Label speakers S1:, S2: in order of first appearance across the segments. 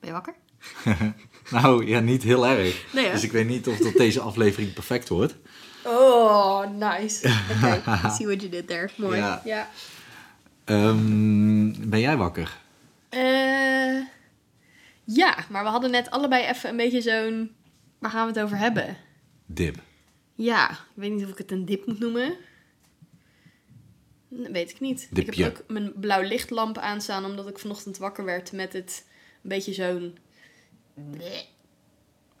S1: je wakker?
S2: nou ja, niet heel erg.
S1: Nee, hè?
S2: dus ik weet niet of dat deze aflevering perfect wordt.
S1: Oh, nice. Oké, I see what you did there. Mooi.
S2: Ja.
S1: Ja.
S2: Ehm, ben jij wakker?
S1: Eh, ja, maar we hadden net allebei even een beetje zo'n... Waar gaan we het over hebben?
S2: Dip.
S1: Ja, ik weet niet of ik het een dip moet noemen. Nee, weet ik niet. Ik
S2: Dipje.
S1: heb ook mijn blauw lichtlamp aanstaan omdat ik vanochtend wakker werd met het een beetje zo'n... bleh,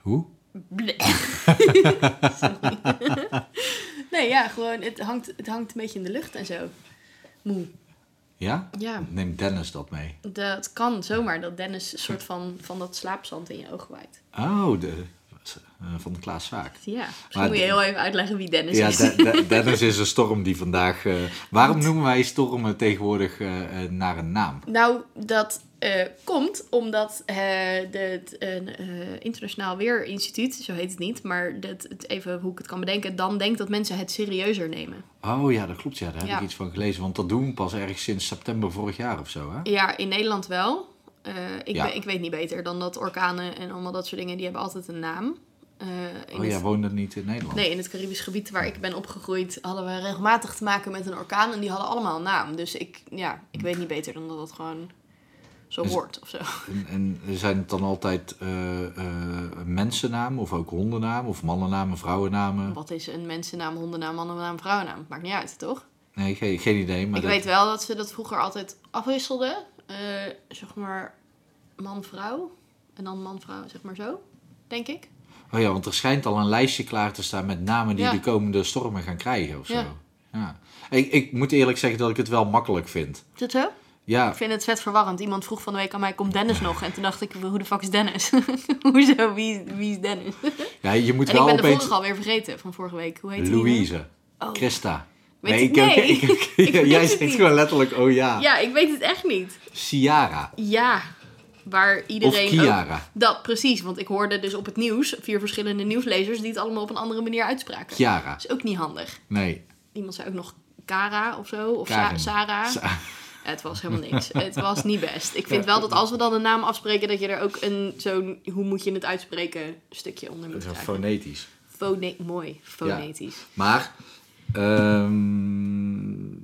S2: Hoe?
S1: bleh. Sorry. nee, ja, gewoon het hangt, het hangt een beetje in de lucht en zo. Moe.
S2: Ja?
S1: Ja,
S2: Neem Dennis dat mee.
S1: dat kan zomaar dat Dennis een soort van, van dat slaapzand in je ogen waait.
S2: Oh, de, eh, van de Klaas Vaak.
S1: Ja,
S2: Maar
S1: misschien moet je heel even uitleggen wie Dennis
S2: Ja,
S1: is.
S2: De- De- Dennis is een storm die vandaag... eh, waarom noemen wij stormen tegenwoordig eh, eh, naar een naam?
S1: Nou, dat eh, komt omdat eh, de, het eh, eh, Internationaal Weerinstituut, zo heet het niet, maar dat, het, even hoe ik het kan bedenken, dan denkt dat mensen het serieuzer nemen.
S2: Oh ja, dat klopt. Ja, daar heb
S1: Ja.
S2: ik iets van gelezen. Want dat doen we pas ergens sinds september vorig jaar of zo, hè?
S1: Ja, in Nederland wel. Eh, ik,
S2: Ja.
S1: we- ik weet niet beter dan dat orkanen en allemaal dat soort dingen, die hebben altijd een naam. Eh, in
S2: Oh
S1: het-
S2: ja, woonde niet in Nederland.
S1: Nee, in het Caribisch gebied waar ik ben opgegroeid hadden we regelmatig te maken met een orkaan en die hadden allemaal een naam. Dus ik, ja, ik weet niet beter dan dat dat gewoon zo
S2: Dus-
S1: hoort of zo.
S2: En, en zijn het dan altijd eh, eh, mensennamen of ook hondennamen of mannennamen, vrouwennamen?
S1: Wat is een mensennaam, hondennaam, mannennaam, vrouwennaam? Maakt niet uit, toch?
S2: Nee, geen, geen idee. Maar
S1: ik
S2: dat-
S1: weet wel dat ze dat vroeger altijd afwisselden. Eh, zeg maar man-vrouw. En dan man-vrouw, zeg maar zo. Denk ik.
S2: Oh ja, want er schijnt al een lijstje klaar te staan met namen die
S1: Ja.
S2: de komende stormen gaan krijgen of zo. Ja.
S1: Ja.
S2: Ik, ik moet eerlijk zeggen dat ik het wel makkelijk vind.
S1: Is dat zo?
S2: Ja,
S1: Ik vind het vet verwarrend. Iemand vroeg van de week aan mij, komt Dennis nog? En toen dacht ik, hoe de fuck is Dennis? Hoezo, wie, is- wie is Dennis?
S2: ja je moet
S1: en ik
S2: wel
S1: ben de
S2: opeens...
S1: vorige alweer vergeten van vorige week. Hoe heet die nu?
S2: Louise,
S1: Oh.
S2: Christa.
S1: Weet
S2: nee,
S1: ik-
S2: ik heb-
S1: nee.
S2: ik heb-
S1: Ik weet
S2: jij
S1: het
S2: zegt
S1: niet.
S2: gewoon letterlijk, oh ja.
S1: Ja, ik weet het echt niet.
S2: Ciara
S1: Ja, waar
S2: of
S1: iedereen... ook-
S2: Kiara.
S1: Dat, precies. Want ik hoorde dus op het nieuws vier verschillende nieuwslezers die het allemaal op een andere manier uitspraken.
S2: Kiara.
S1: Dat is ook niet handig.
S2: Nee.
S1: Iemand zei ook nog Kara of zo. Of Sa-
S2: Karin.
S1: Sarah.
S2: Sa-
S1: het was helemaal niks. het was niet best. Ik vind wel dat als we dan een naam afspreken, dat je er ook een zo'n hoe moet je het uitspreken stukje onder moet krijgen.
S2: fonetisch.
S1: Fone- mooi, fonetisch.
S2: Maar, ehm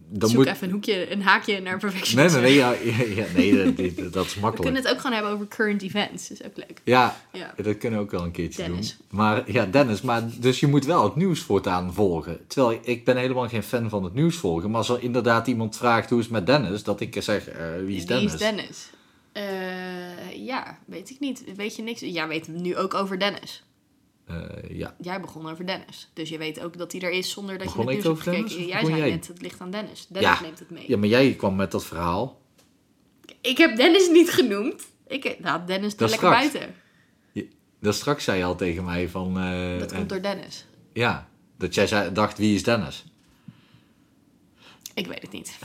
S2: dan
S1: Zoek
S2: moet...
S1: even een hoekje, een haakje naar perfectionisme.
S2: Nee, nee, nee, ja, ja, ja, nee dat, dit- dat is
S1: We
S2: makkelijk.
S1: kunnen het ook gaan hebben over current events. Dat is ook leuk.
S2: Ja,
S1: Ja.
S2: dat kunnen we ook wel een keertje
S1: Dennis.
S2: doen. Maar ja, Dennis, maar dus je moet wel het nieuws voortaan volgen. Terwijl ik ben helemaal geen fan van het nieuws volgen. Maar als er inderdaad iemand vraagt hoe is het met Dennis, dat ik zeg, eh, wie is Dennis?
S1: Wie is Dennis? Eh, ja, weet ik niet. Weet je niks? Jij weet nu ook over Dennis.
S2: Eh, ja.
S1: Jij begon over Dennis. Dus je weet ook dat hij er is zonder dat
S2: Begon
S1: je
S2: ik
S1: het nieuws
S2: over
S1: hebt
S2: Dennis
S1: gekeken.
S2: of
S1: Jij
S2: begon
S1: zei
S2: jij?
S1: net, het ligt aan Dennis. Dennis
S2: Ja.
S1: neemt het mee.
S2: ja, maar jij kwam met dat verhaal.
S1: Ik heb Dennis niet genoemd. Ik nou, Dennis er
S2: Dat
S1: lekker
S2: straks.
S1: buiten.
S2: Dat straks zei je al tegen mij van... eh,
S1: Dat
S2: eh,
S1: komt door Dennis.
S2: Ja, dat jij zei, dacht, wie is Dennis?
S1: Ik weet het niet.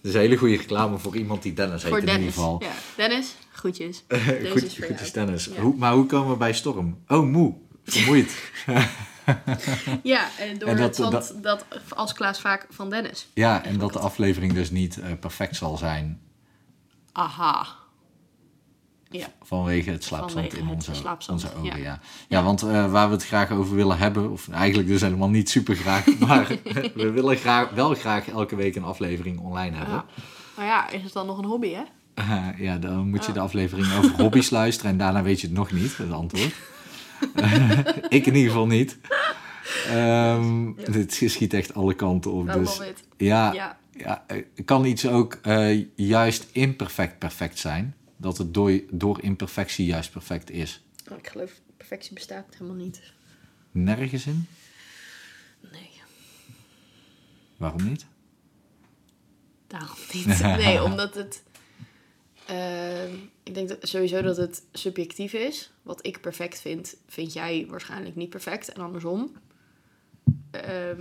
S2: Dat is een hele goede reclame voor iemand die Dennis heet
S1: voor
S2: in
S1: Dennis.
S2: ieder geval.
S1: Ja. Dennis, groetjes. Deze
S2: goed
S1: is voor
S2: goed
S1: jou.
S2: is Dennis.
S1: Ja.
S2: Hoe, maar hoe komen we bij storm? Oh, moe. Vermoeid.
S1: Ja, eh, door
S2: En dat-
S1: het zand dat, als Klaas vaak van Dennis.
S2: ja, en dat de aflevering dus niet eh, perfect zal zijn
S1: Aha. Ja.
S2: vanwege het slaapzand
S1: Vanwege
S2: in
S1: het
S2: onze,
S1: slaapzand,
S2: onze ogen. Ja,
S1: ja.
S2: ja. want eh, waar we het graag over willen hebben, of eigenlijk dus helemaal niet super graag, maar we willen graag, wel graag elke week een aflevering online hebben.
S1: Ja. Maar ja, is het dan nog een hobby, hè?
S2: Eh, ja, dan moet je de aflevering over hobby's luisteren en daarna weet je het nog niet, het antwoord. ik in ieder geval niet. Ehm Dit schiet echt alle kanten op.
S1: I
S2: Dus
S1: love it.
S2: ja, ja.
S1: Ja.
S2: eh, kan iets ook eh, juist imperfect perfect zijn? Dat het door, door imperfectie juist perfect is.
S1: Oh, Ik geloof, perfectie bestaat helemaal niet.
S2: Nergens in?
S1: Nee,
S2: Waarom niet?
S1: daarom niet. Nee, omdat het... ehm, ik denk dat sowieso dat het subjectief is. Wat ik perfect vind, vind jij waarschijnlijk niet perfect. En andersom. Ehm,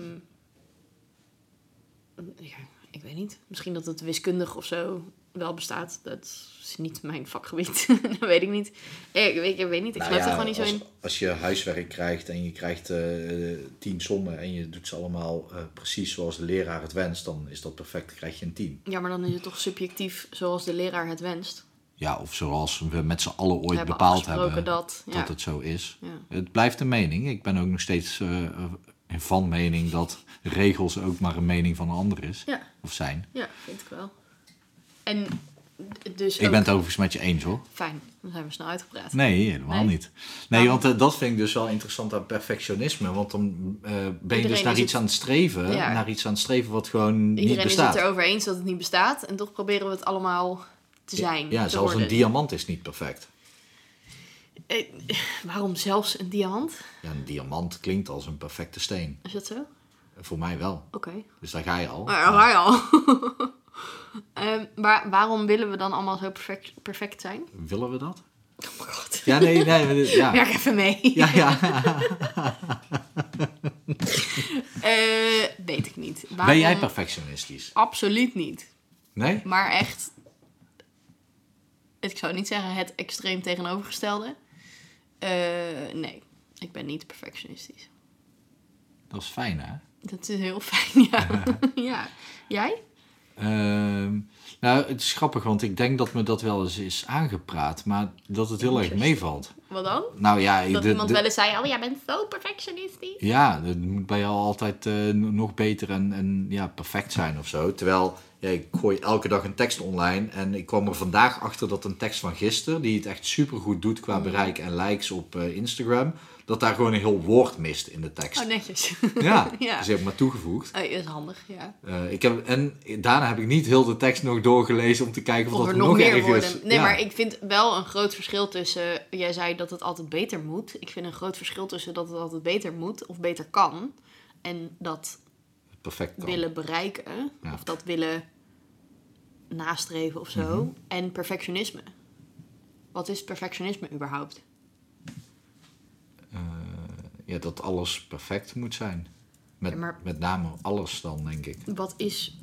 S1: ja, ik weet niet. Misschien dat het wiskundig of zo wel bestaat. Dat is niet mijn vakgebied. dat weet ik niet. Ik, weet ik weet niet. Ik geloof er gewoon niet zo
S2: Nou als,
S1: in.
S2: als je huiswerk krijgt en je krijgt eh, tien sommen en je doet ze allemaal eh, precies zoals de leraar het wenst, dan is dat perfect. Dan krijg je een tien.
S1: Ja, maar dan is het toch subjectief zoals de leraar het wenst.
S2: Ja, of zoals we met z'n allen ooit
S1: We hebben
S2: bepaald
S1: afgesproken
S2: hebben dat,
S1: dat. Ja.
S2: het zo is.
S1: Ja.
S2: Het blijft een mening. Ik ben ook nog steeds eh, van mening dat regels ook maar een mening van een ander is.
S1: ja,
S2: Of zijn.
S1: ja, vind ik wel. En d- dus
S2: Ik
S1: ook-
S2: ben het overigens met je eens hoor.
S1: Fijn, dan zijn we snel uitgepraat.
S2: Nee, helemaal
S1: Nee?
S2: niet. Nee,
S1: Nou.
S2: want eh, dat vind ik dus wel interessant aan perfectionisme. Want dan eh, ben je
S1: Iedereen
S2: dus naar
S1: is
S2: iets
S1: het-
S2: aan het streven.
S1: Ja.
S2: Naar iets aan het streven wat gewoon niet
S1: Iedereen is
S2: bestaat.
S1: het erover eens dat het niet bestaat. En toch proberen we het allemaal te zijn.
S2: ja,
S1: te
S2: zelfs een
S1: worden.
S2: diamant is niet perfect.
S1: Eh, waarom zelfs een diamant?
S2: Ja, een diamant klinkt als een perfecte steen.
S1: Is dat zo? Oké.
S2: Voor mij wel. Dus daar ga je al.
S1: Maar ga je al. Ehm, maar waarom willen we dan allemaal zo perfect, perfect zijn?
S2: Willen we dat?
S1: Oh mijn god.
S2: Ja, nee, nee. maar dit- ja.
S1: Werk even mee.
S2: Ja, ja.
S1: Eh, weet ik niet. Waarom?
S2: Ben jij perfectionistisch?
S1: Absoluut niet.
S2: Nee?
S1: Maar echt... Ik zou niet zeggen het extreem tegenovergestelde. Eh, nee, ik ben niet perfectionistisch.
S2: Dat is fijn, hè?
S1: Dat is heel fijn, ja. ja. Jij?
S2: Ehm, nou, het is grappig, want ik denk dat me dat wel eens is aangepraat. Maar dat het heel erg meevalt.
S1: Wat dan?
S2: Nou ja,
S1: Dat
S2: de-
S1: iemand
S2: de-
S1: wel eens zei, oh, jij bent zo perfectionistisch.
S2: Ja, het moet bij jou altijd eh, n- nog beter en, en ja, perfect zijn of zo. Terwijl ja, ik gooi elke dag een tekst online en ik kwam er vandaag achter dat een tekst van gisteren, die het echt supergoed doet
S1: Mm.
S2: qua bereik en likes op eh, Instagram, dat daar gewoon een heel woord mist in de tekst.
S1: Oh, netjes.
S2: Ja,
S1: Ja.
S2: dus ik heb maar toegevoegd.
S1: Oh, dat is handig, ja.
S2: Eh, ik heb, en daarna heb ik niet heel de tekst nog doorgelezen om te kijken of,
S1: Of
S2: dat
S1: er nog meer
S2: ergens...
S1: worden. Nee,
S2: ja.
S1: maar ik vind wel een groot verschil tussen... Jij zei dat het altijd beter moet. Ik vind een groot verschil tussen dat het altijd beter moet of beter kan. En dat
S2: Perfect kan.
S1: willen bereiken.
S2: Ja.
S1: Of dat willen nastreven of zo.
S2: Mhm.
S1: En perfectionisme. Wat is perfectionisme überhaupt?
S2: Eh, ja, dat alles perfect moet zijn. Met,
S1: Ja, maar-
S2: met name alles dan, denk ik.
S1: Wat is...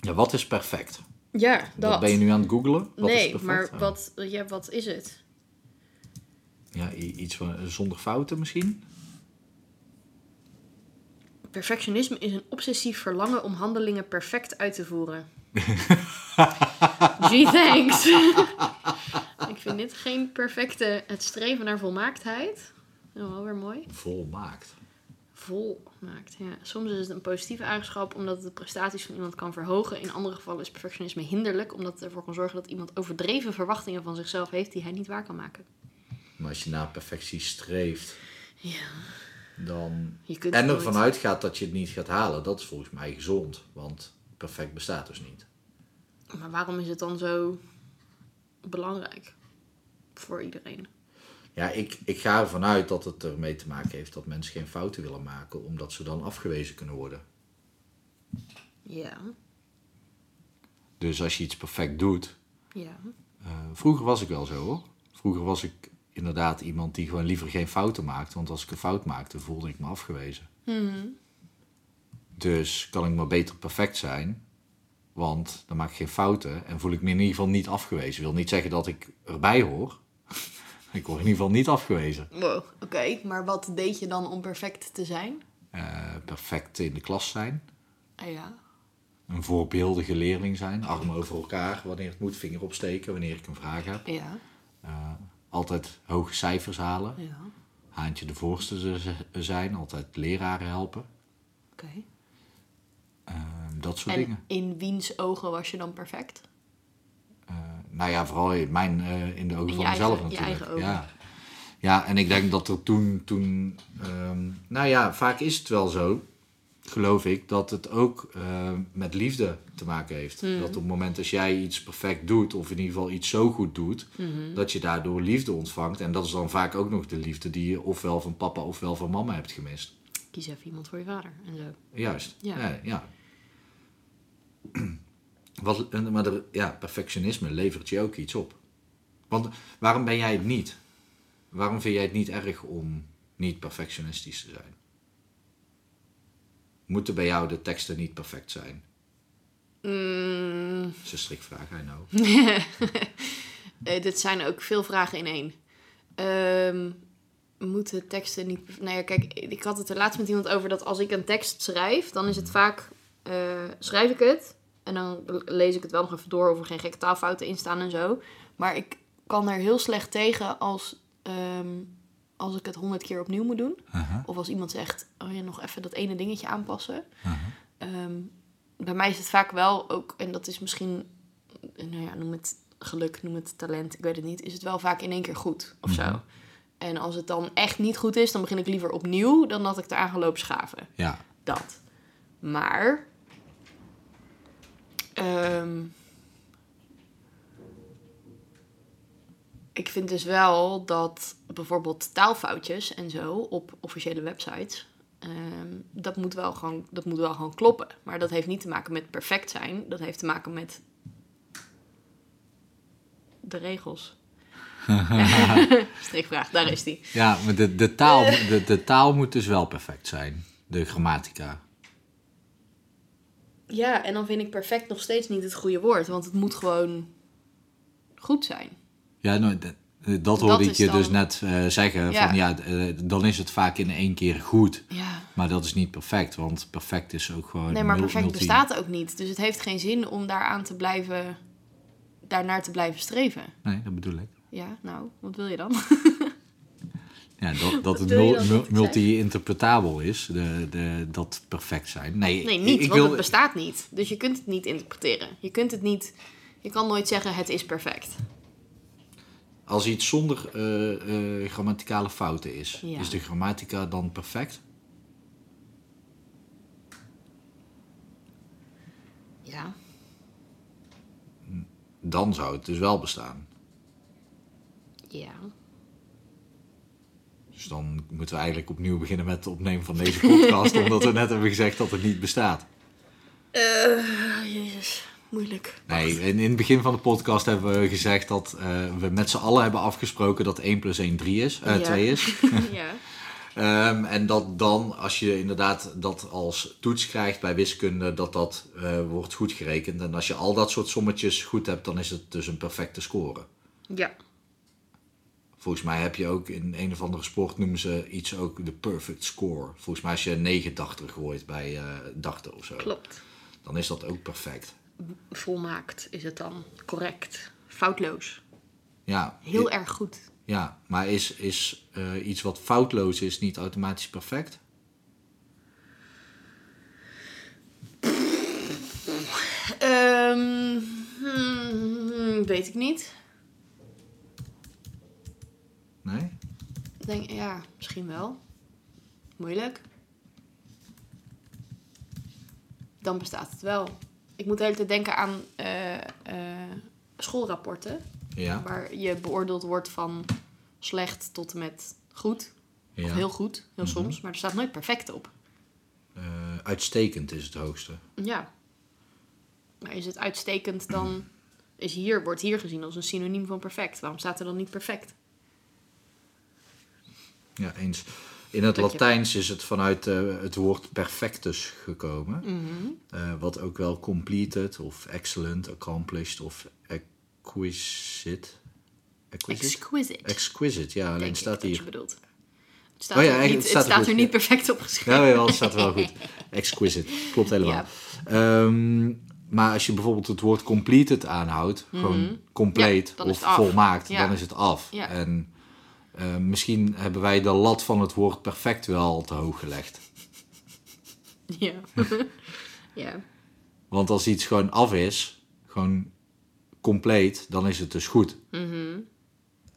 S2: Ja, wat is perfect?
S1: Ja,
S2: Dat, ben je nu aan het googlen? Wat is
S1: nee,
S2: perfect? Oh.
S1: maar
S2: Ja.
S1: wat, ja, wat is het?
S2: Ja, i- iets van, eh, zonder fouten misschien?
S1: Perfectionisme is een obsessief verlangen om handelingen perfect uit te voeren. Gee, thanks. Ik vind dit geen perfecte... Het streven naar volmaaktheid. Nou, wel weer mooi.
S2: Volmaakt.
S1: vol maakt. Ja. Soms is het een positieve eigenschap omdat het de prestaties van iemand kan verhogen. In andere gevallen is perfectionisme hinderlijk omdat het ervoor kan zorgen dat iemand overdreven verwachtingen van zichzelf heeft die hij niet waar kan maken.
S2: Maar als je naar perfectie streeft,
S1: Ja.
S2: dan...
S1: Je kunt
S2: En
S1: nooit-
S2: ervan uitgaat dat je het niet gaat halen, dat is volgens mij gezond. Want perfect bestaat dus niet.
S1: Maar waarom is het dan zo belangrijk voor iedereen?
S2: Ja, ik, ik ga ervan uit dat het ermee te maken heeft dat mensen geen fouten willen maken, omdat ze dan afgewezen kunnen worden.
S1: Ja.
S2: Dus als je iets perfect doet,
S1: Ja.
S2: Eh, vroeger was ik wel zo hoor. Vroeger was ik inderdaad iemand die gewoon liever geen fouten maakte. Want als ik een fout maakte, voelde ik me afgewezen.
S1: Hmm.
S2: Dus kan ik maar beter perfect zijn. Want dan maak ik geen fouten en voel ik me in ieder geval niet afgewezen. Wil niet zeggen dat ik erbij hoor. ik word in ieder geval niet afgewezen.
S1: Wow, oké. Maar wat deed je dan om perfect te zijn?
S2: Eh, perfect in de klas zijn.
S1: Ah ja.
S2: Een voorbeeldige leerling zijn. Armen over elkaar wanneer het moet. Vinger opsteken wanneer ik een vraag heb.
S1: Ja.
S2: Eh, altijd hoge cijfers halen.
S1: Ja.
S2: haantje de voorste ze- zijn, altijd leraren helpen,
S1: Oké.
S2: ehm, dat soort
S1: En
S2: dingen.
S1: in wiens ogen was je dan perfect?
S2: Eh, nou ja, vooral in, mijn, eh, in de ogen
S1: In je
S2: van
S1: eigen-
S2: mezelf
S1: je
S2: natuurlijk.
S1: eigen ogen.
S2: Ja. ja, en ik denk dat er toen, toen ehm, nou ja, vaak is het wel zo, geloof ik, dat het ook ehm, met liefde te maken heeft.
S1: Hmm.
S2: Dat op het moment als jij iets perfect doet, of in ieder geval iets zo goed doet,
S1: Hmm.
S2: dat je daardoor liefde ontvangt. En dat is dan vaak ook nog de liefde die je ofwel van papa ofwel van mama hebt gemist.
S1: Kies even iemand voor je vader en zo.
S2: Juist.
S1: Ja.
S2: Ja. ja, Wat, en- maar er- ja, perfectionisme levert je ook iets op. Want waarom ben jij het niet? Waarom vind jij het niet erg om niet perfectionistisch te zijn? Moeten bij jou de teksten niet perfect zijn?
S1: Mm,
S2: Dat is een strikvraag, I know.
S1: Eh, dit zijn ook veel vragen in één. Ehm, moeten teksten niet... Nou ja, kijk, ik had het er laatst met iemand over dat als ik een tekst schrijf, dan is het vaak... eh, schrijf ik het En dan lees ik het wel nog even door of er geen gekke taalfouten in staan en zo. Maar ik kan er heel slecht tegen als, ehm, als ik het honderd keer opnieuw moet doen.
S2: Aha.
S1: Of als iemand zegt, oh ja, nog even dat ene dingetje aanpassen.
S2: Aha.
S1: Ehm, bij mij is het vaak wel ook, en dat is misschien, nou ja, noem het geluk, noem het talent, ik weet het niet, is het wel vaak in één keer goed of
S2: Mhm.
S1: zo. En als het dan echt niet goed is, dan begin ik liever opnieuw dan dat ik eraan ga lopen schaven.
S2: Ja,
S1: Dat. Maar. ehm, ik vind dus wel dat bijvoorbeeld taalfoutjes en zo op officiële websites. ehm, dat, moet wel gewoon, dat moet wel gewoon kloppen. Maar dat heeft niet te maken met perfect zijn. Dat heeft te maken met. de regels. Strikvraag, daar is die.
S2: ja maar de, de, taal, de, de taal moet dus wel perfect zijn. De grammatica.
S1: Ja, en dan vind ik perfect nog steeds niet het goede woord, want het moet gewoon goed zijn.
S2: Ja, nou, d- dat hoorde
S1: Dat
S2: ik
S1: is
S2: je
S1: dan-
S2: dus net eh, zeggen.
S1: Ja.
S2: Van, ja, eh, dan is het vaak in één keer goed.
S1: Ja.
S2: Maar dat is niet perfect, want perfect is ook gewoon.
S1: Nee, maar
S2: mul-
S1: perfect
S2: multi-
S1: bestaat ook niet. Dus het heeft geen zin om daaraan te blijven, daarnaar te blijven streven.
S2: Nee, dat bedoel ik.
S1: Ja, nou, wat wil je dan?
S2: Ja, dat, dat het
S1: wil je
S2: mul-
S1: dan
S2: mul-
S1: dat ik
S2: multi-interpretabel is, de, de, dat perfect zijn. Nee,
S1: Nee,
S2: ik-
S1: niet,
S2: ik
S1: want
S2: wil,
S1: het bestaat niet. Dus je kunt het niet interpreteren. Je kunt het niet, je kan nooit zeggen het is perfect.
S2: Als iets zonder eh, eh, grammaticale fouten is,
S1: Ja.
S2: is de grammatica dan perfect?
S1: Ja.
S2: Dan zou het dus wel bestaan.
S1: Ja.
S2: Dus dan moeten we eigenlijk opnieuw beginnen met het opnemen van deze podcast, omdat we net hebben gezegd dat het niet bestaat.
S1: Eh, jezus, moeilijk.
S2: Nee, in, in het begin van de podcast hebben we gezegd dat eh, we met z'n allen hebben afgesproken dat 1 plus 1 3 is, eh,
S1: Ja.
S2: 2 is.
S1: ja.
S2: Ehm, en dat dan, als je inderdaad dat als toets krijgt bij wiskunde, dat dat eh, wordt goed gerekend. En als je al dat soort sommetjes goed hebt, dan is het dus een perfecte score.
S1: Ja.
S2: Volgens mij heb je ook in een of andere sport noemen ze iets ook de perfect score. Volgens mij als je 89 gooit bij eh dachten of zo,
S1: Klopt.
S2: dan is dat ook perfect.
S1: Volmaakt is het dan. Correct. Foutloos.
S2: Ja,
S1: Heel
S2: i-
S1: erg goed.
S2: ja maar is, is eh, iets wat foutloos is niet automatisch perfect?
S1: Ehm, hmm, weet ik niet.
S2: Nee?
S1: Ik Denk, ja, misschien wel. Moeilijk. Dan bestaat het wel. Ik moet de hele tijd denken aan eh, eh, schoolrapporten.
S2: Ja.
S1: Waar je beoordeeld wordt van slecht tot en met goed. Of
S2: ja.
S1: heel goed, heel
S2: Mhm.
S1: soms. Maar er staat nooit perfect op.
S2: Eh, uitstekend is het hoogste.
S1: Ja. Maar is het uitstekend dan... Is hier, wordt hier gezien als een synoniem van perfect. Waarom staat er dan niet perfect?
S2: Ja, eens. In het
S1: Dank je.
S2: Latijns is het vanuit eh, het woord perfectus gekomen.
S1: Hm.
S2: Eh, wat ook wel completed of excellent, accomplished of exquisite. Exquisite?
S1: Exquisite.
S2: Exquisite, ja, alleen
S1: denk
S2: staat
S1: ik dat je
S2: hier.
S1: bedoelt. Het staat,
S2: Oh ja,
S1: er,
S2: eigenlijk,
S1: niet,
S2: het
S1: het
S2: staat
S1: staat,
S2: er goed,
S1: er
S2: ja.
S1: niet perfect op geschreven.
S2: Ja, wel, het staat wel goed. Exquisite, klopt helemaal. Ehm, maar als je bijvoorbeeld het woord completed aanhoudt,
S1: Mhm.
S2: gewoon compleet
S1: Ja, dan
S2: of
S1: is het af.
S2: volmaakt,
S1: Ja.
S2: dan is het af.
S1: Ja.
S2: En eh, misschien hebben wij de lat van het woord perfect wel te hoog gelegd.
S1: Ja. ja.
S2: Want als iets gewoon af is, gewoon compleet, dan is het dus goed.
S1: Mhm.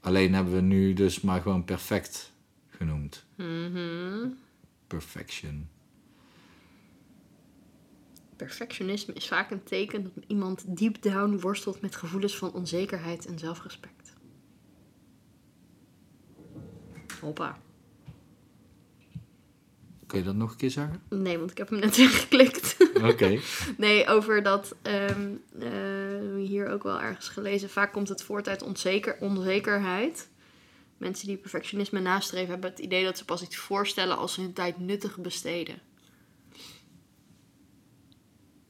S2: Alleen hebben we nu dus maar gewoon perfect genoemd.
S1: Mhm.
S2: Perfection.
S1: Perfectionisme is vaak een teken dat iemand deep down worstelt met gevoelens van onzekerheid en zelfrespect. Hoppa.
S2: Kun je dat nog een keer zeggen?
S1: Nee, want ik heb hem net ingeklikt.
S2: Oké.
S1: Nee, over dat ehm, eh, hier ook wel ergens gelezen. Vaak komt het voort uit onzeker, onzekerheid. Mensen die perfectionisme nastreven hebben het idee dat ze pas iets voorstellen als ze hun tijd nuttig besteden.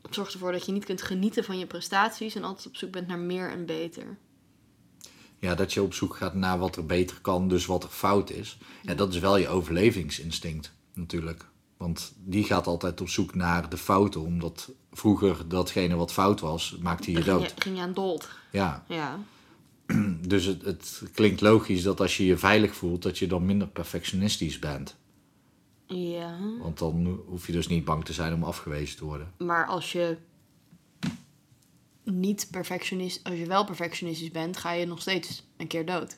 S1: Het zorgt ervoor dat je niet kunt genieten van je prestaties en altijd op zoek bent naar meer en beter.
S2: Ja, dat je op zoek gaat naar wat er beter kan, dus wat er fout is. Ja, dat is wel je overlevingsinstinct natuurlijk. Want die gaat altijd op zoek naar de fouten, omdat vroeger datgene wat fout was, maakte je
S1: Dan ging
S2: dood.
S1: je, ging je aan dood.
S2: Ja,
S1: Ja.
S2: dus het, het klinkt logisch dat als je je veilig voelt, dat je dan minder perfectionistisch bent.
S1: Ja.
S2: Want dan hoef je dus niet bang te zijn om afgewezen te worden.
S1: Maar als je niet perfectionist, als je wel perfectionistisch bent, ga je nog steeds een keer dood.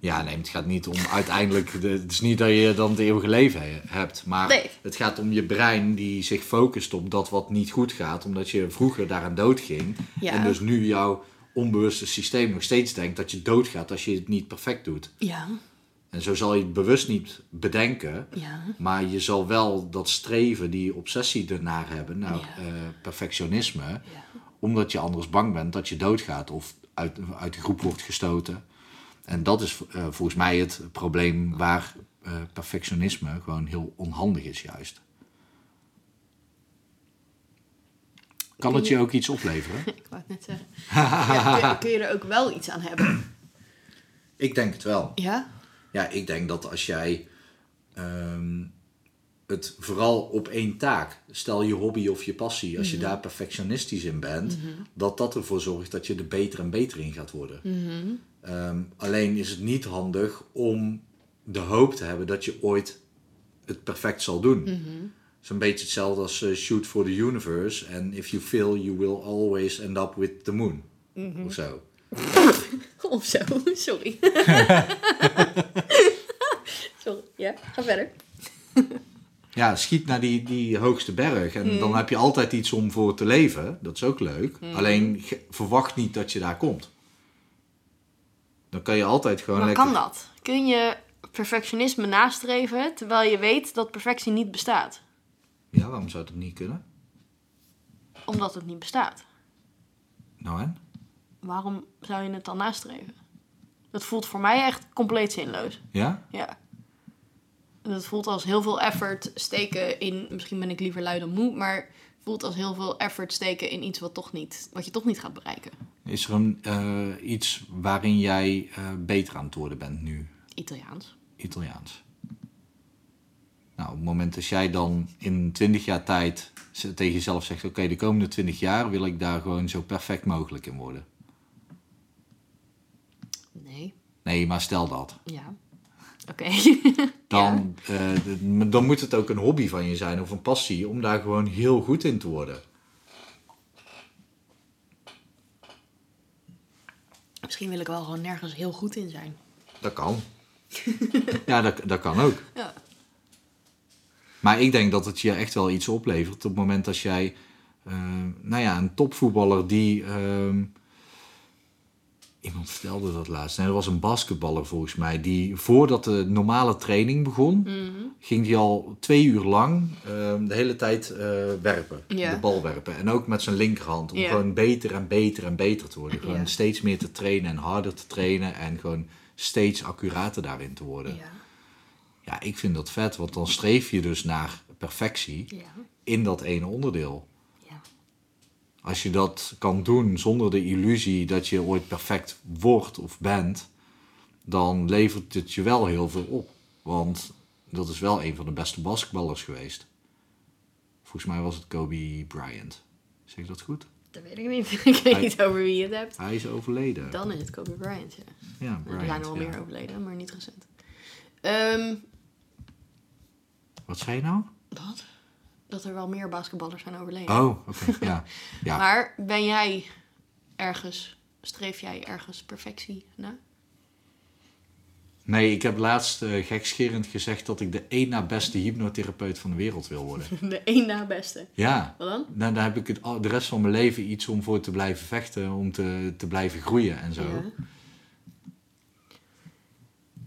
S2: Ja, nee, het gaat niet om uiteindelijk. de- het is niet dat je dan het eeuwige leven he- hebt. Maar
S1: Nee.
S2: het gaat om je brein die zich focust op dat wat niet goed gaat. Omdat je vroeger daaraan dood ging.
S1: Ja.
S2: En dus nu jouw onbewuste systeem nog steeds denkt dat je doodgaat als je het niet perfect doet.
S1: Ja.
S2: En zo zal je het bewust niet bedenken.
S1: Ja.
S2: Maar je zal wel dat streven, die obsessie ernaar hebben, nou,
S1: Ja.
S2: eh, perfectionisme.
S1: Ja.
S2: Omdat je anders bang bent dat je doodgaat of uit, uit de groep wordt gestoten. En dat is eh, volgens mij het probleem waar eh, perfectionisme gewoon heel onhandig is juist. Kan het je ook iets opleveren?
S1: Ik wou het net zeggen. Ja, kun, je- kun je er ook wel iets aan hebben?
S2: Ik denk het wel.
S1: Ja.
S2: Ja, ik denk dat als jij ehm, het vooral op één taak, stel je hobby of je passie, als je daar perfectionistisch in bent, dat dat ervoor zorgt dat je er beter en beter in gaat worden. Ehm, alleen is het niet handig om de hoop te hebben dat je ooit het perfect zal doen. Zo'n beetje hetzelfde als eh, shoot for the universe and if you fail you will always end up with the moon. Of zo.
S1: Of zo. Sorry. Sorry. Ja, ga verder.
S2: Ja, schiet naar die, die hoogste berg. En
S1: Mm.
S2: dan heb je altijd iets om voor te leven. Dat is ook leuk. Alleen ge- verwacht niet dat je daar komt. Dan kan je altijd gewoon
S1: Maar
S2: lekker...
S1: kan dat? Kun je perfectionisme nastreven terwijl je weet dat perfectie niet bestaat?
S2: Ja, waarom zou dat niet kunnen?
S1: Omdat het niet bestaat.
S2: Nou en?
S1: Waarom zou je het dan nastreven? Dat voelt voor mij echt compleet zinloos.
S2: Ja?
S1: Ja. Dat voelt als heel veel effort steken in. Misschien ben ik liever lui dan moe, maar voelt als heel veel effort steken in iets wat, toch niet, wat je toch niet gaat bereiken.
S2: Is er een, eh, iets waarin jij eh, beter aan het worden bent nu?
S1: Italiaans.
S2: Italiaans. Nou, op het moment dat jij dan in 20 jaar tijd z- tegen jezelf zegt... Oké, de komende 20 jaar wil ik daar gewoon zo perfect mogelijk in worden.
S1: Nee.
S2: Nee, maar stel dat.
S1: Ja. Oké.
S2: dan, eh, d- dan moet het ook een hobby van je zijn of een passie om daar gewoon heel goed in te worden.
S1: Misschien wil ik wel gewoon nergens heel goed in zijn.
S2: Dat kan. ja, dat, dat kan ook.
S1: Ja.
S2: Maar ik denk dat het je echt wel iets oplevert op het moment dat jij, eh, nou ja, een topvoetballer die. ehm, Iemand stelde dat laatst. Nee, dat was een basketballer volgens mij. Die voordat de normale training begon,
S1: Mhm.
S2: ging hij al twee uur lang ehm, de hele tijd eh, werpen.
S1: Ja.
S2: De bal werpen. En ook met zijn linkerhand. Om
S1: Ja.
S2: gewoon beter en beter en beter te worden. Gewoon
S1: Ja.
S2: steeds meer te trainen en harder te trainen. En gewoon steeds accurater daarin te worden.
S1: Ja.
S2: Ja, ik vind dat vet, want dan streef je dus naar perfectie
S1: Ja.
S2: in dat ene onderdeel.
S1: Ja.
S2: Als je dat kan doen zonder de illusie dat je ooit perfect wordt of bent, dan levert het je wel heel veel op. Want dat is wel een van de beste basketballers geweest. Volgens mij was het Kobe Bryant. Zeg ik dat goed?
S1: Dat weet ik niet. ik weet
S2: Hij-
S1: niet over wie je het hebt.
S2: Hij is overleden.
S1: Dan is het Kobe Bryant, ja.
S2: Ja,
S1: Er zijn er
S2: Bryant.
S1: wel
S2: ja.
S1: meer overleden, maar niet recent. Ehm,
S2: Wat zei je nou?
S1: wat? Dat er wel meer basketballers zijn overleden.
S2: Oh, oké. ja. ja.
S1: Maar ben jij ergens, streef jij ergens perfectie na?
S2: Nee, ik heb laatst eh, gekscherend gezegd dat ik de één na beste hypnotherapeut van de wereld wil worden.
S1: De één na beste.
S2: ja.
S1: Wat dan?
S2: Nou, daar heb ik het, al- de rest van mijn leven iets om voor te blijven vechten, om te, te blijven groeien en zo.
S1: Ja.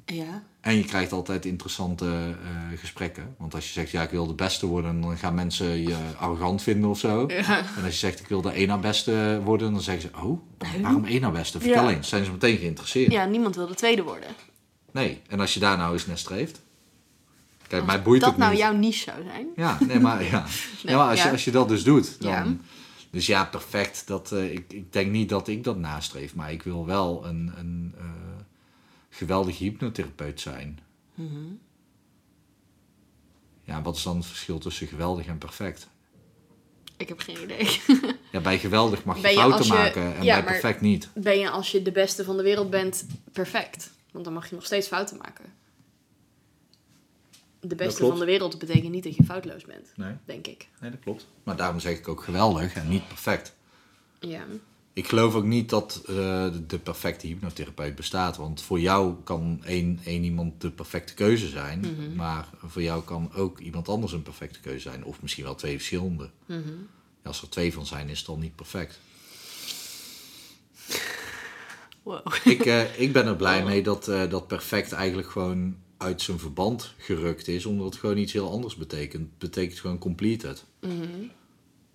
S1: Ja.
S2: En je krijgt altijd interessante eh, gesprekken. Want als je zegt, ja, ik wil de beste worden, dan gaan mensen je arrogant vinden of zo.
S1: Ja.
S2: En als je zegt, ik wil de één na beste worden, dan zeggen ze, oh, waarom één na beste? Vertel
S1: Ja.
S2: eens. Zijn ze meteen geïnteresseerd?
S1: niemand wil de tweede worden.
S2: Nee. En als je daar nou eens naar streeft. Kijk, mij boeit
S1: dat
S2: het niet.
S1: nou jouw niche zou zijn.
S2: Ja, nee, maar, ja.
S1: Nee,
S2: ja, maar als,
S1: ja.
S2: Je, als je dat dus doet, dan...
S1: Ja.
S2: Dus ja, perfect. Dat, eh, ik, ik denk niet dat ik dat nastreef, maar ik wil wel een, een eh, geweldige hypnotherapeut zijn.
S1: Mhm.
S2: Ja, wat is dan het verschil tussen geweldig en perfect?
S1: Ik heb geen idee.
S2: Ja, bij geweldig mag je
S1: Ben je
S2: fouten
S1: als je-
S2: maken en
S1: ja, maar-
S2: bij perfect niet.
S1: Ben je als je de beste van de wereld bent perfect? Want dan mag je nog steeds fouten maken. De beste
S2: klopt.
S1: van de wereld betekent niet dat je foutloos bent,
S2: Nee,
S1: denk ik.
S2: nee, dat klopt. Maar daarom zeg ik ook geweldig en niet perfect.
S1: Ja.
S2: Ik geloof ook niet dat eh, de perfecte hypnotherapeut bestaat. Want voor jou kan één, één iemand de perfecte keuze zijn. Maar voor jou kan ook iemand anders een perfecte keuze zijn. Of misschien wel twee verschillende. Als er twee van zijn, is het al niet perfect.
S1: Wow.
S2: ik, eh, ik ben er blij mee dat, eh, dat perfect eigenlijk gewoon uit zijn verband gerukt is. Omdat het gewoon iets heel anders betekent. Het betekent gewoon completed.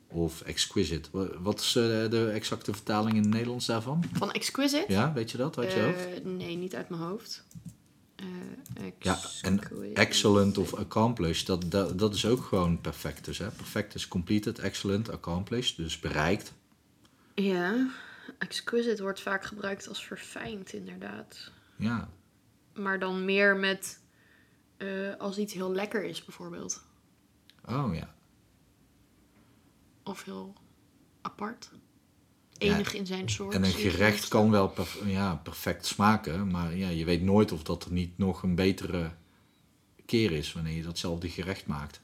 S2: Of exquisite. Wa- Wat is eh, de exacte vertaling in het Nederlands daarvan?
S1: Van Exquisite?
S2: Ja, weet je dat uit je hoofd?
S1: Eh, nee, niet uit mijn hoofd. Eh,
S2: Ja, en
S1: exquisite.
S2: excellent of accomplished, dat, dat, dat is ook gewoon perfect. Dus, hè? Perfect is completed, excellent, accomplished, dus bereikt.
S1: Ja, exquisite wordt vaak gebruikt als verfijnd, inderdaad.
S2: Ja,
S1: Maar dan meer met eh, als iets heel lekker is, bijvoorbeeld.
S2: oh ja.
S1: Of heel apart.
S2: Ja,
S1: Enig in zijn soort.
S2: En een gerecht kan wel perf- ja, perfect smaken, maar ja, je weet nooit of dat er niet nog een betere keer is wanneer je datzelfde gerecht maakt.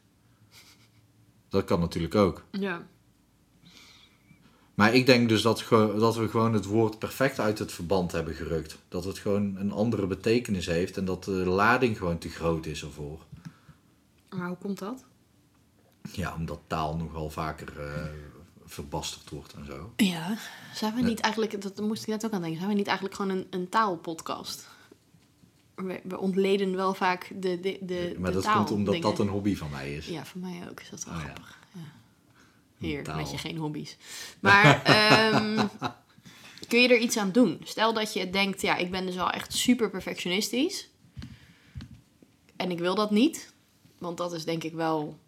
S2: Dat kan natuurlijk ook.
S1: Ja.
S2: Maar ik denk dus dat, ge- dat we gewoon het woord perfect uit het verband hebben gerukt. Dat het gewoon een andere betekenis heeft en dat de lading gewoon te groot is ervoor.
S1: Maar hoe komt dat?
S2: Ja, omdat taal nogal vaker eh verbasterd wordt en zo.
S1: Ja. Zijn we niet eigenlijk, dat moest ik net ook aan denken, zijn we niet eigenlijk gewoon een, een taalpodcast? We, we ontleden wel vaak de, de, de,
S2: maar
S1: de
S2: dat komt omdat
S1: taaldingen.
S2: dat een hobby van mij is.
S1: Ja, voor mij ook is dat wel
S2: Oh, ja.
S1: grappig. Ja. Hier,
S2: Taal.
S1: met je geen hobby's. Maar ehm, kun je er iets aan doen? Stel dat je denkt, ja, ik ben dus wel echt super perfectionistisch. En ik wil dat niet. Want dat is denk ik wel...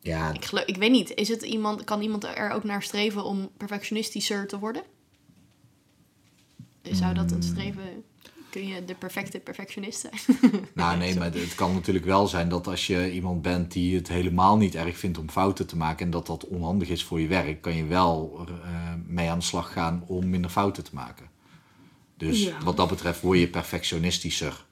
S2: Ja,
S1: Ik, geloof, ik weet niet, is het iemand, kan iemand er ook naar streven om perfectionistischer te worden? Zou dat
S2: Hmm.
S1: een streven... Kun je de perfecte perfectionist zijn?
S2: nou nee, maar het kan natuurlijk wel zijn dat als je iemand bent die het helemaal niet erg vindt om fouten te maken en dat dat onhandig is voor je werk, kan je wel er, eh, mee aan de slag gaan om minder fouten te maken. Dus
S1: Ja.
S2: wat dat betreft word je perfectionistischer.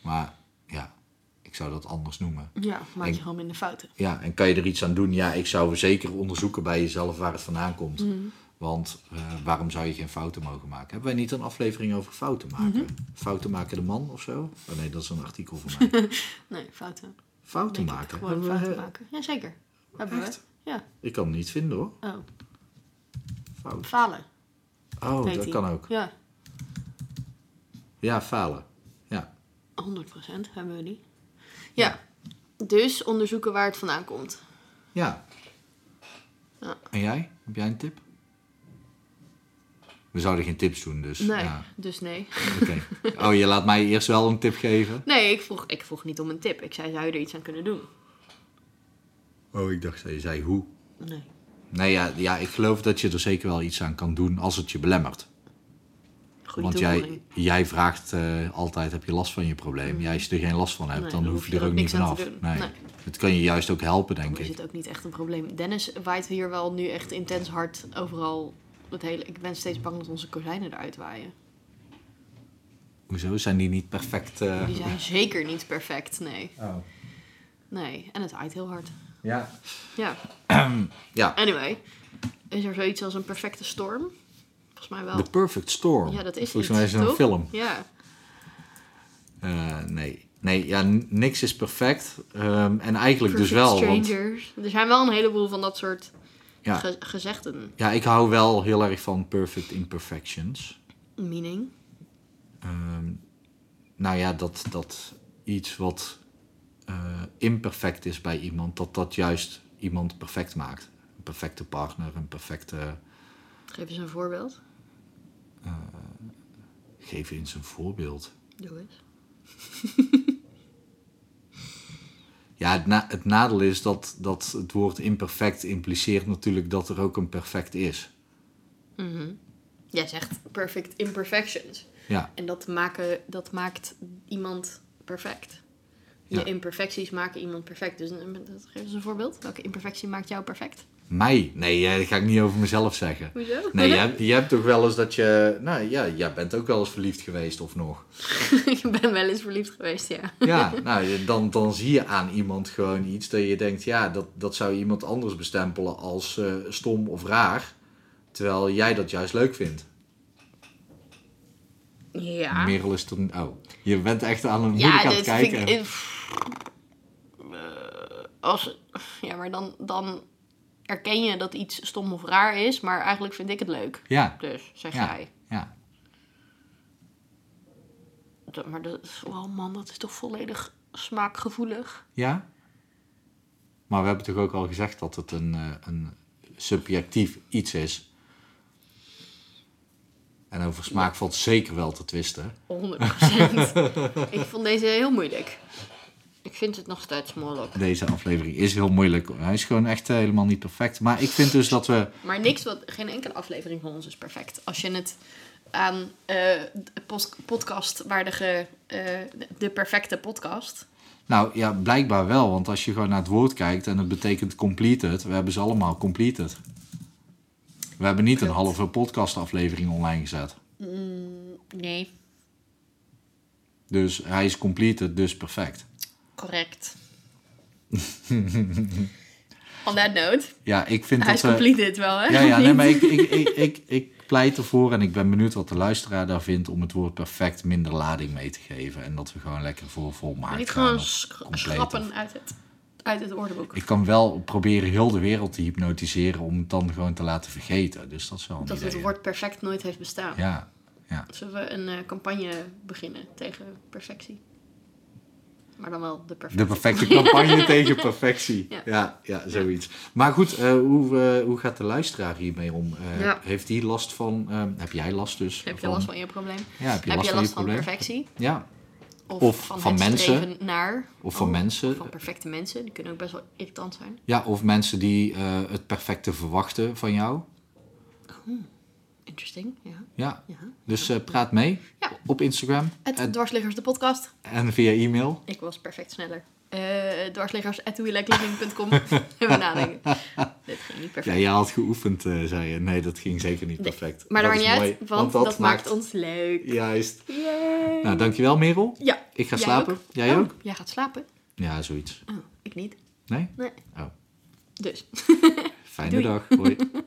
S2: Maar ja, ik zou dat anders noemen.
S1: Ja, maak je
S2: Ik-
S1: gewoon minder fouten.
S2: Ja, en kan je er iets aan doen? Ja, ik zou zeker onderzoeken bij jezelf waar het vandaan komt.
S1: Mhm.
S2: Want eh, waarom zou je geen fouten mogen maken? Hebben wij niet een aflevering over fouten
S1: Mhm.
S2: maken? Fouten maken de man of zo? Oh nee, dat is een artikel van mij.
S1: Nee, fouten.
S2: fouten
S1: Denk ik,
S2: maken?
S1: Gewoon
S2: Hebben we-
S1: fouten maken. Jazeker. Hebben
S2: Echt?
S1: we. Ja.
S2: Ik kan hem niet vinden hoor.
S1: Oh,
S2: Fout.
S1: falen.
S2: Oh,
S1: heet
S2: dat
S1: die.
S2: kan ook.
S1: Ja,
S2: Ja, falen. Ja.
S1: 100% hebben we die. Ja. Dus onderzoeken waar het vandaan komt.
S2: Ja.
S1: Ja.
S2: En jij? Heb jij een tip? We zouden geen tips doen, dus.
S1: Nee,
S2: Ja,
S1: dus nee.
S2: oké. Oh, je laat mij eerst wel een tip geven?
S1: Nee, ik vroeg, ik vroeg niet om een tip. Ik zei, zou je er iets aan kunnen doen?
S2: Oh, ik dacht, je zei hoe.
S1: Nee.
S2: Nee, ja, ja, ik geloof dat je er zeker wel iets aan kan doen als het je belemmert.
S1: Goede
S2: Want jij,
S1: toevoeging. Mm.
S2: jij vraagt eh, altijd, heb je last van je probleem? Ja, als je er geen last van hebt,
S1: Nee,
S2: dan, hoef je er ook niet
S1: niks
S2: van
S1: aan
S2: af.
S1: te
S2: Nee.
S1: doen. Nee.
S2: Het kan je juist ook helpen, denk
S1: Er
S2: ik.
S1: zit ook niet echt een probleem. Dennis waait hier wel nu echt intens hard overal. Het hele, ik ben steeds bang dat onze kozijnen eruit waaien.
S2: Hoezo? Zijn die niet perfect? eh,
S1: Die zijn zeker niet perfect, nee.
S2: Oh.
S1: Nee, en het waait heel hard.
S2: Ja.
S1: Ja.
S2: Ja.
S1: Anyway, is er zoiets als een perfecte storm? Volgens mij wel.
S2: The Perfect Storm.
S1: Oh. Ja, dat is
S2: Volgens
S1: iets,
S2: mij is het een
S1: toch?
S2: film.
S1: Ja.
S2: Eh, nee. Nee, ja, n- niks is perfect. Ehm, en eigenlijk
S1: Perfect
S2: dus wel. Want,
S1: Strangers. Er zijn wel een heleboel van dat soort
S2: ja,
S1: ge- gezegden.
S2: ja, ik hou wel heel erg van perfect imperfections.
S1: Meaning.
S2: Ehm, nou ja, dat, dat iets wat eh, imperfect is bij iemand, dat dat juist iemand perfect maakt. Een perfecte partner, een perfecte.
S1: Geef eens een voorbeeld.
S2: Geef eens een voorbeeld.
S1: Doe eens.
S2: Ja, het, na- het nadeel is dat, dat het woord imperfect impliceert natuurlijk dat er ook een perfect is.
S1: Mhm. Jij zegt perfect imperfections.
S2: Ja,
S1: En dat, maken, dat maakt iemand perfect. Je
S2: Ja.
S1: imperfecties maken iemand perfect. Dus eh, dat- geef eens een voorbeeld. Welke imperfectie maakt jou perfect?
S2: Mij? Nee, eh, dat ga ik niet over mezelf zeggen.
S1: Hoezo?
S2: Nee, je hebt, je hebt toch wel eens dat je... Nou ja, jij bent ook wel eens verliefd geweest of nog.
S1: ik ben wel eens verliefd geweest, ja.
S2: Ja, nou, je- dan, dan zie je aan iemand gewoon iets dat je denkt... Ja, dat, dat zou iemand anders bestempelen als eh, stom of raar. Terwijl jij dat juist leuk vindt.
S1: Ja.
S2: Merel is toen... Oh, je bent echt aan een
S1: ja,
S2: moeilijk aan het
S1: dit vind
S2: kijken.
S1: ik... eh, pff, eh, als, ja, maar dan, dan erken je dat iets stom of raar is, maar eigenlijk vind ik het leuk.
S2: Ja,
S1: Dus, zeg
S2: Ja.
S1: jij.
S2: ja.
S1: Dat- Maar dat is, oh man, dat is toch volledig smaakgevoelig?
S2: Ja. Maar we hebben toch ook al gezegd dat het een, eh, een subjectief iets is. En over smaak valt zeker wel te twisten.
S1: 100%. ik vond deze heel moeilijk. Ik vind het nog steeds moeilijk.
S2: Deze aflevering is heel moeilijk. Hij is gewoon echt eh, helemaal niet perfect. Maar ik vind dus dat we...
S1: Maar niks wat, geen enkele aflevering van ons is perfect. Als je het aan eh de post- podcastwaardige, eh, de perfecte podcast.
S2: Nou ja, blijkbaar wel. Want als je gewoon naar het woord kijkt en het betekent completed. We hebben ze allemaal completed. We hebben niet een
S1: Klopt.
S2: halve podcastaflevering online gezet.
S1: Nee,
S2: Dus hij is completed, dus perfect.
S1: correct. On that note,
S2: Ja, ik vind
S1: hij
S2: dat
S1: is
S2: we...
S1: completed wel, hè?
S2: Ja, ja nee, maar ik, ik, ik, ik, ik pleit ervoor en ik ben benieuwd wat de luisteraar daar vindt om het woord perfect minder lading mee te geven. En dat we gewoon lekker voor volmaakt
S1: Niet
S2: gaan
S1: gewoon
S2: of
S1: sch-
S2: compleet of-
S1: schrappen uit het, uit het woordenboek.
S2: Ik kan wel proberen heel de wereld te hypnotiseren om het dan gewoon te laten vergeten. Dus dat is wel een
S1: dat
S2: idee.
S1: het woord perfect nooit heeft bestaan.
S2: Ja, ja.
S1: Zullen we een eh, campagne beginnen tegen perfectie? Maar dan wel de perfecte.
S2: De perfecte campagne tegen perfectie. Ja.
S1: Ja.
S2: Ja, zoiets. Maar goed, eh, hoe, eh, hoe gaat de luisteraar hiermee om? Eh,
S1: Ja.
S2: Heeft hij last van... eh, heb jij last dus?
S1: Heb je last van je probleem?
S2: Ja, heb je
S1: heb
S2: last
S1: je
S2: van je
S1: last van
S2: probleem?
S1: perfectie?
S2: Ja,
S1: Of,
S2: Of
S1: van,
S2: van
S1: het
S2: mensen.
S1: streven naar?
S2: of van
S1: Oh,
S2: mensen.
S1: Van perfecte mensen. Die kunnen ook best wel irritant zijn.
S2: Ja, of mensen die eh, het perfecte verwachten van jou. Hmm.
S1: Interesting, ja.
S2: Ja,
S1: ja.
S2: dus eh, praat mee
S1: Ja.
S2: op Instagram
S1: Het
S2: en,
S1: Dwarsliggers, de podcast.
S2: en via e-mail.
S1: Ik was perfect sneller. Eh dwarsliggers at whoelikeLiving.com. Even nadenken. Dit ging niet perfect.
S2: Ja, jij had geoefend, eh, zei je. Nee, dat ging zeker niet
S1: Nee,
S2: perfect.
S1: Maar dat maakt
S2: is
S1: niet uit,
S2: mooi,
S1: want, dat, maakt ons leuk.
S2: Juist.
S1: Yay.
S2: Nou, dankjewel Merel.
S1: Ja.
S2: Ik ga
S1: Jij
S2: slapen.
S1: ook?
S2: Jij
S1: Oh,
S2: ook?
S1: Jij gaat slapen?
S2: Ja, zoiets.
S1: Oh, ik niet.
S2: Nee?
S1: Nee.
S2: Oh,
S1: Dus.
S2: fijne
S1: Doei.
S2: dag. Hoi.